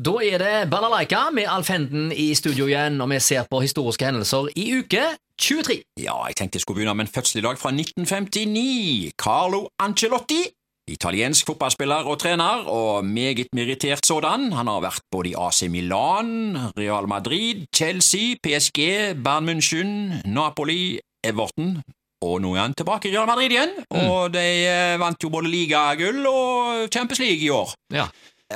Da er det Balalaika med Alf Henden i studio igjen, og vi ser på historiske hendelser i uke 23. Ja, jeg tenkte jeg skulle begynne med en fødsel i dag fra 1959. Carlo Ancelotti. Italiensk fotballspiller og trener, og meget merittert sådan. Han har vært både i AC Milan, Real Madrid, Chelsea, PSG, Bayern München, Napoli, Everton. Og nå er han tilbake i Real Madrid igjen, Mm. og de eh, vant jo både ligagull og Champions League i år. Ja.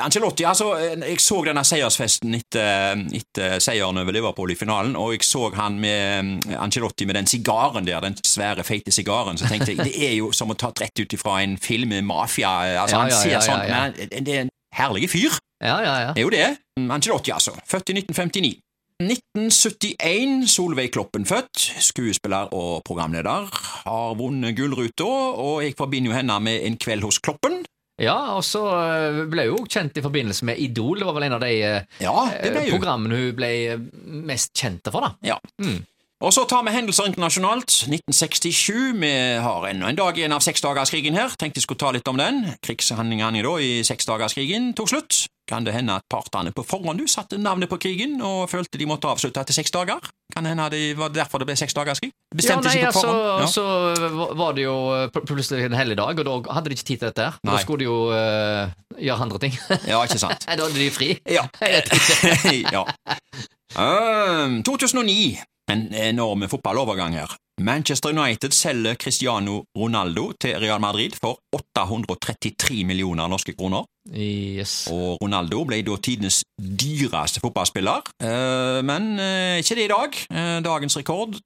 Ancelotti, altså, jeg så denne seiersfesten etter, etter seieren over Liverpool i finalen, og jeg så han med eh, Ancelotti med den sigaren der, den svære, feite sigaren, så tenkte jeg, det er jo som å ta rett ut ifra en film med mafia, altså, Ja, han ja, ser ja, ja, sånn, ja. men han- det er en herlig fyr. Ja, ja, ja. Det er jo det. Angelotti, altså. Født i 1959. 1971, Solveig Kloppen født, skuespiller og programleder, har vunnet Gullruta, og jeg forbinder jo henne med En kveld hos Kloppen. ja og så eh, ble hun jo kjent i forbindelse med Idol. Det var vel en av de eh, Ja, det ble jo. programmene hun ble eh, mest kjent for, da. Ja. Mm. Og så tar vi hendelser internasjonalt. 1967, vi har ennå en dag igjen av seksdagerskrigen her. Tenkte jeg skulle ta litt om den. Krigshandlingene da i seksdagerskrigen tok slutt. Kan det hende at partene på forhånd du satte navnet på krigen og følte de måtte avslutte etter seks dager? Kan hende det var derfor det ble seksdagerskrig? Bestemte ja, nei, seg på altså, forhånd? Ja. Så var det jo eh, pl- plutselig en helligdag, og da hadde de ikke tid til dette. her. Da Nei. skulle de jo eh, gjøre andre ting. Ja, ikke sant? Nei, da hadde de fri. Ja. Jeg vet ikke. ja. Ehm, 2009. En enorm fotballovergang her. Manchester United selger Cristiano Ronaldo til Real Madrid for 833 millioner norske kroner. Yes. Og Ronaldo ble da tidenes dyreste fotballspiller. Eh, Men eh, ikke det i dag. Eh, Dagens rekord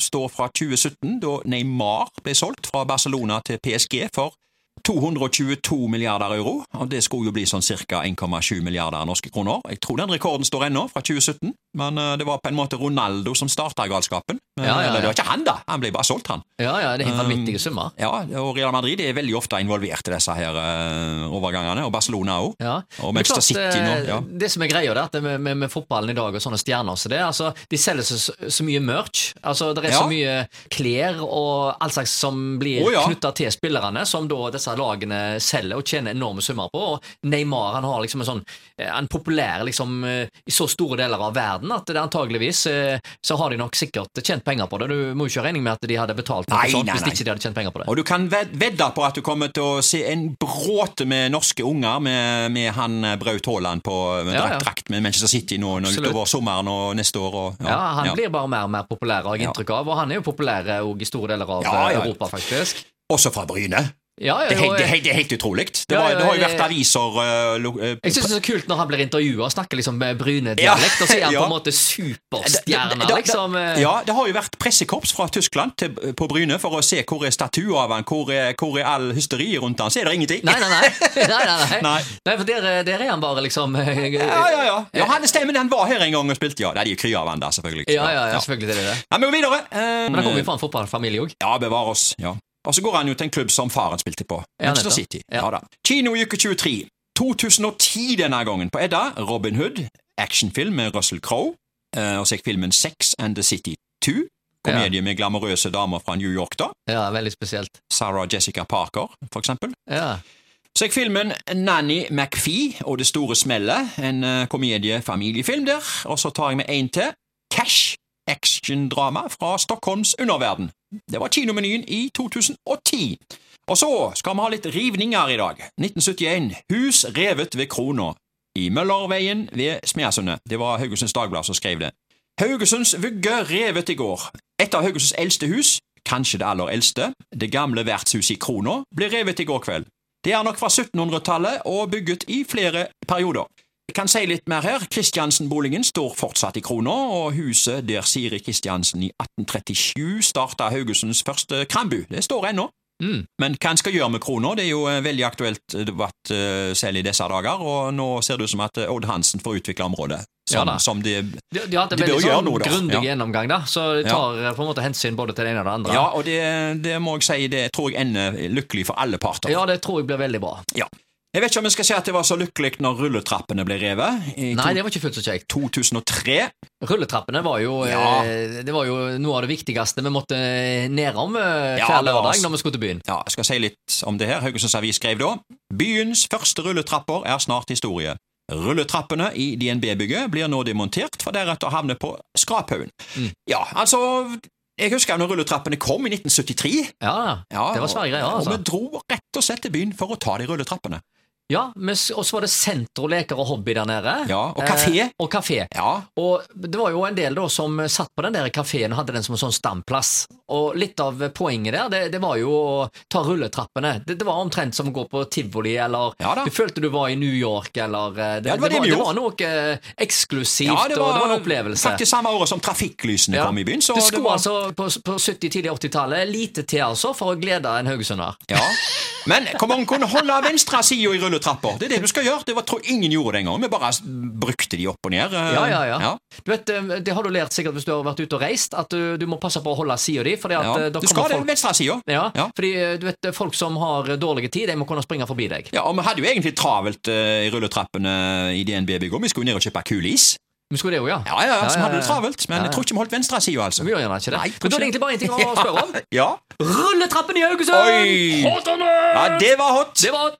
står fra 2017, da Neymar ble solgt fra Barcelona til PSG for 222 milliarder euro, og det skulle jo bli sånn ca. 1,7 milliarder norske kroner. Jeg tror den rekorden står ennå, fra 2017, men eh, det var på en måte Ronaldo som starta galskapen. Men, Ja, ja, ja. Eller det var ikke han, da! Han ble bare solgt, han. Ja, ja, det er helt vanvittige summer. Ja, og Real Madrid er veldig ofte involvert i disse her eh, overgangene, og Barcelona òg. Ja. Og Men Manchester klart, City nå, eh, ja. Det som er greia der, at det med, med, med fotballen i dag og sånne stjerner så det, er, altså, De selger så, så mye merch. Altså, det er Ja. så mye klær og all slags som blir Å, knyttet ja. knytta til spillerne, som da disse lagene selger og tjener enorme summer på. Og Neymar han har liksom en sånn eh, Han er populær liksom, eh, i så store deler av verden at det er antageligvis eh, så har de nok sikkert tjent penger på det. Du må jo ikke ha regning med at de hadde betalt noe Nei, sånt nei, hvis nei. ikke de hadde tjent penger på det. Og du kan ved- vedde på at du kommer til å se en bråte med norske unger med, med han eh, Braut Haaland på med Ja, drak- ja. drakt med Manchester City nå, nå Absolutt. utover sommeren og neste år. Og, Ja, han blir bare mer og mer populær, har jeg Ja. inntrykk av. Og han er jo populær eh, også i store deler av Ja, eh, ja. Europa, faktisk. Også fra Bryne. Ja, ja, Det er helt, og, det er eh, helt, det er helt utrolig. Det, Ja, var- ja, det har jo det- vært aviser eh, lo- eh, jeg syns det er så kult når han blir intervjua og snakker liksom med Ja. Bryne-dialekt, og så er han på Ja. en måte Da- superstjerna, da- liksom. eh. Ja, det har jo vært pressekorps fra Tyskland til, på Bryne for å se hvor er statuer av han, hvor er, hvor er all hysteriet rundt han, så er det ingenting. Nei, nei, nei. nei, nei, nei. Nei. nei for der, eh, der er han bare liksom eh, Ja, ja, ja. ja han, stemmen, han var her en gang og spilte, ja. Nei, de er kry av han der, selvfølgelig. Ja, ja, ja, selvfølgelig er det det. Nei, men videre. Eh, Men han kommer jo fra en fotballfamilie òg. Ja, bevare oss. Ja. Og så går han jo til en klubb som faren spilte på, Manchester nettopp. City. Ja. Ja da. Kino i uke 23. 2010 denne gangen på Edda. Robin Hood, actionfilm med Russell Crowe. Eh, og så gikk filmen Sex and the City 2. Komedie med glamorøse damer fra New York, da. Ja, veldig spesielt. Sarah Jessica Parker, for eksempel. Ja. Så gikk filmen Nanny McPhee og Det store smellet. En eh, komedie-familiefilm der. Og så tar jeg med én til. Cash. Actiondrama fra Stockholms underverden. Det var kinomenyen i 2010. Og så skal vi ha litt rivninger i dag. 1971. Hus revet ved krona. I Møllerveien ved Smeasundet. Det var Haugesunds Dagblad som skrev det. Haugesunds vugge revet i går. Et av Haugesunds eldste hus, kanskje det aller eldste, det gamle vertshuset i Krona, ble revet i går kveld. Det er nok fra 1700-tallet og bygget i flere perioder. Jeg kan si litt mer her. Kristiansen-boligen står fortsatt i Krona, og huset der Siri Kristiansen i 1837 starta Haugesunds første krambu, det står ennå. Mm. Men hva en skal gjøre med krona, det er jo eh, veldig aktuelt eh, debatt eh, selv i disse dager, og nå ser det ut som at eh, Odd Hansen får utvikle området. Ja Som, da. som det, De, de har hatt en De bør veldig gjøre sånn noe, da. grundig Ja. gjennomgang, da, så de Ja. tar eh, på en måte hensyn både til det ene og det andre. ja, og det, det må jeg si, det tror jeg ender lykkelig for alle parter. ja det tror jeg blir veldig bra. Jeg vet ikke om jeg skal si at det var så lykkelig når rulletrappene ble revet i Nei, to- det var ikke fullt så kjekt. 2003. Rulletrappene var jo, Ja. eh, det var jo noe av det viktigste vi måtte nedom eh, Ja, hver det var lørdag oss. når vi skulle til byen. Ja, jeg skal si litt om det her. Haugesunds Avis skrev da Byens første rulletrapper er snart historie. Rulletrappene i DNB-bygget blir nå demontert, for deretter å havne på skraphaugen. Mm. Ja, altså Jeg husker når rulletrappene kom i 1973. Ja, Ja, Det var svære greier, og- altså. Og vi dro rett og slett til byen for å ta de rulletrappene. ja men s- og så var det senter og leker og hobby der nede. Ja, og kafé. Eh, og kafé. Ja, Og det var jo en del da som satt på den der kafeen og hadde den som en sånn stamplass. Og litt av poenget der, det, det var jo å ta rulletrappene. Det, det var omtrent som å gå på tivoli, eller Ja da. du følte du var i New York, eller eh, Det, Ja, det var det vi det gjorde. var noe eh, eksklusivt, ja og det var en opplevelse. faktisk samme året som trafikklysene Ja. kom i byen. Så Du det skulle var, altså på, på 70-, tidlig 80-tallet lite til altså for å glede en haugesunder. ja. Men hvor mange kunne holde venstre sida i rulletrapper? Det er det du skal gjøre. Det var, tror jeg ingen gjorde det engang. Vi bare s- brukte de opp og ned. eh, Ja, ja, ja. Du vet, eh, Det har du lært sikkert hvis du har vært ute og reist, at du, du må passe på å holde sida di. Fordi at Ja. eh, da Du kommer skal det folk- venstre sida. Ja, Ja. fordi eh, du vet, folk som har eh, dårlig tid, de må kunne springe forbi deg. Ja, og Vi hadde jo egentlig travelt eh, i rulletrappene i DNB-bygget. Vi skulle ned og kjøpe kuleis. Men skulle det jo, ja. Ja, ja, ja, Ja, så ja, hadde det ja. travelt. Men Ja, jeg ja. tror ikke vi holdt venstre sida, altså. Vi gjør gjerne ikke det. Nei, Men da er det egentlig bare en ting å spørre om. Ja. Rulletrappen i Haugesund! Oi! Hot or not? ja, det var hot! Det var hot.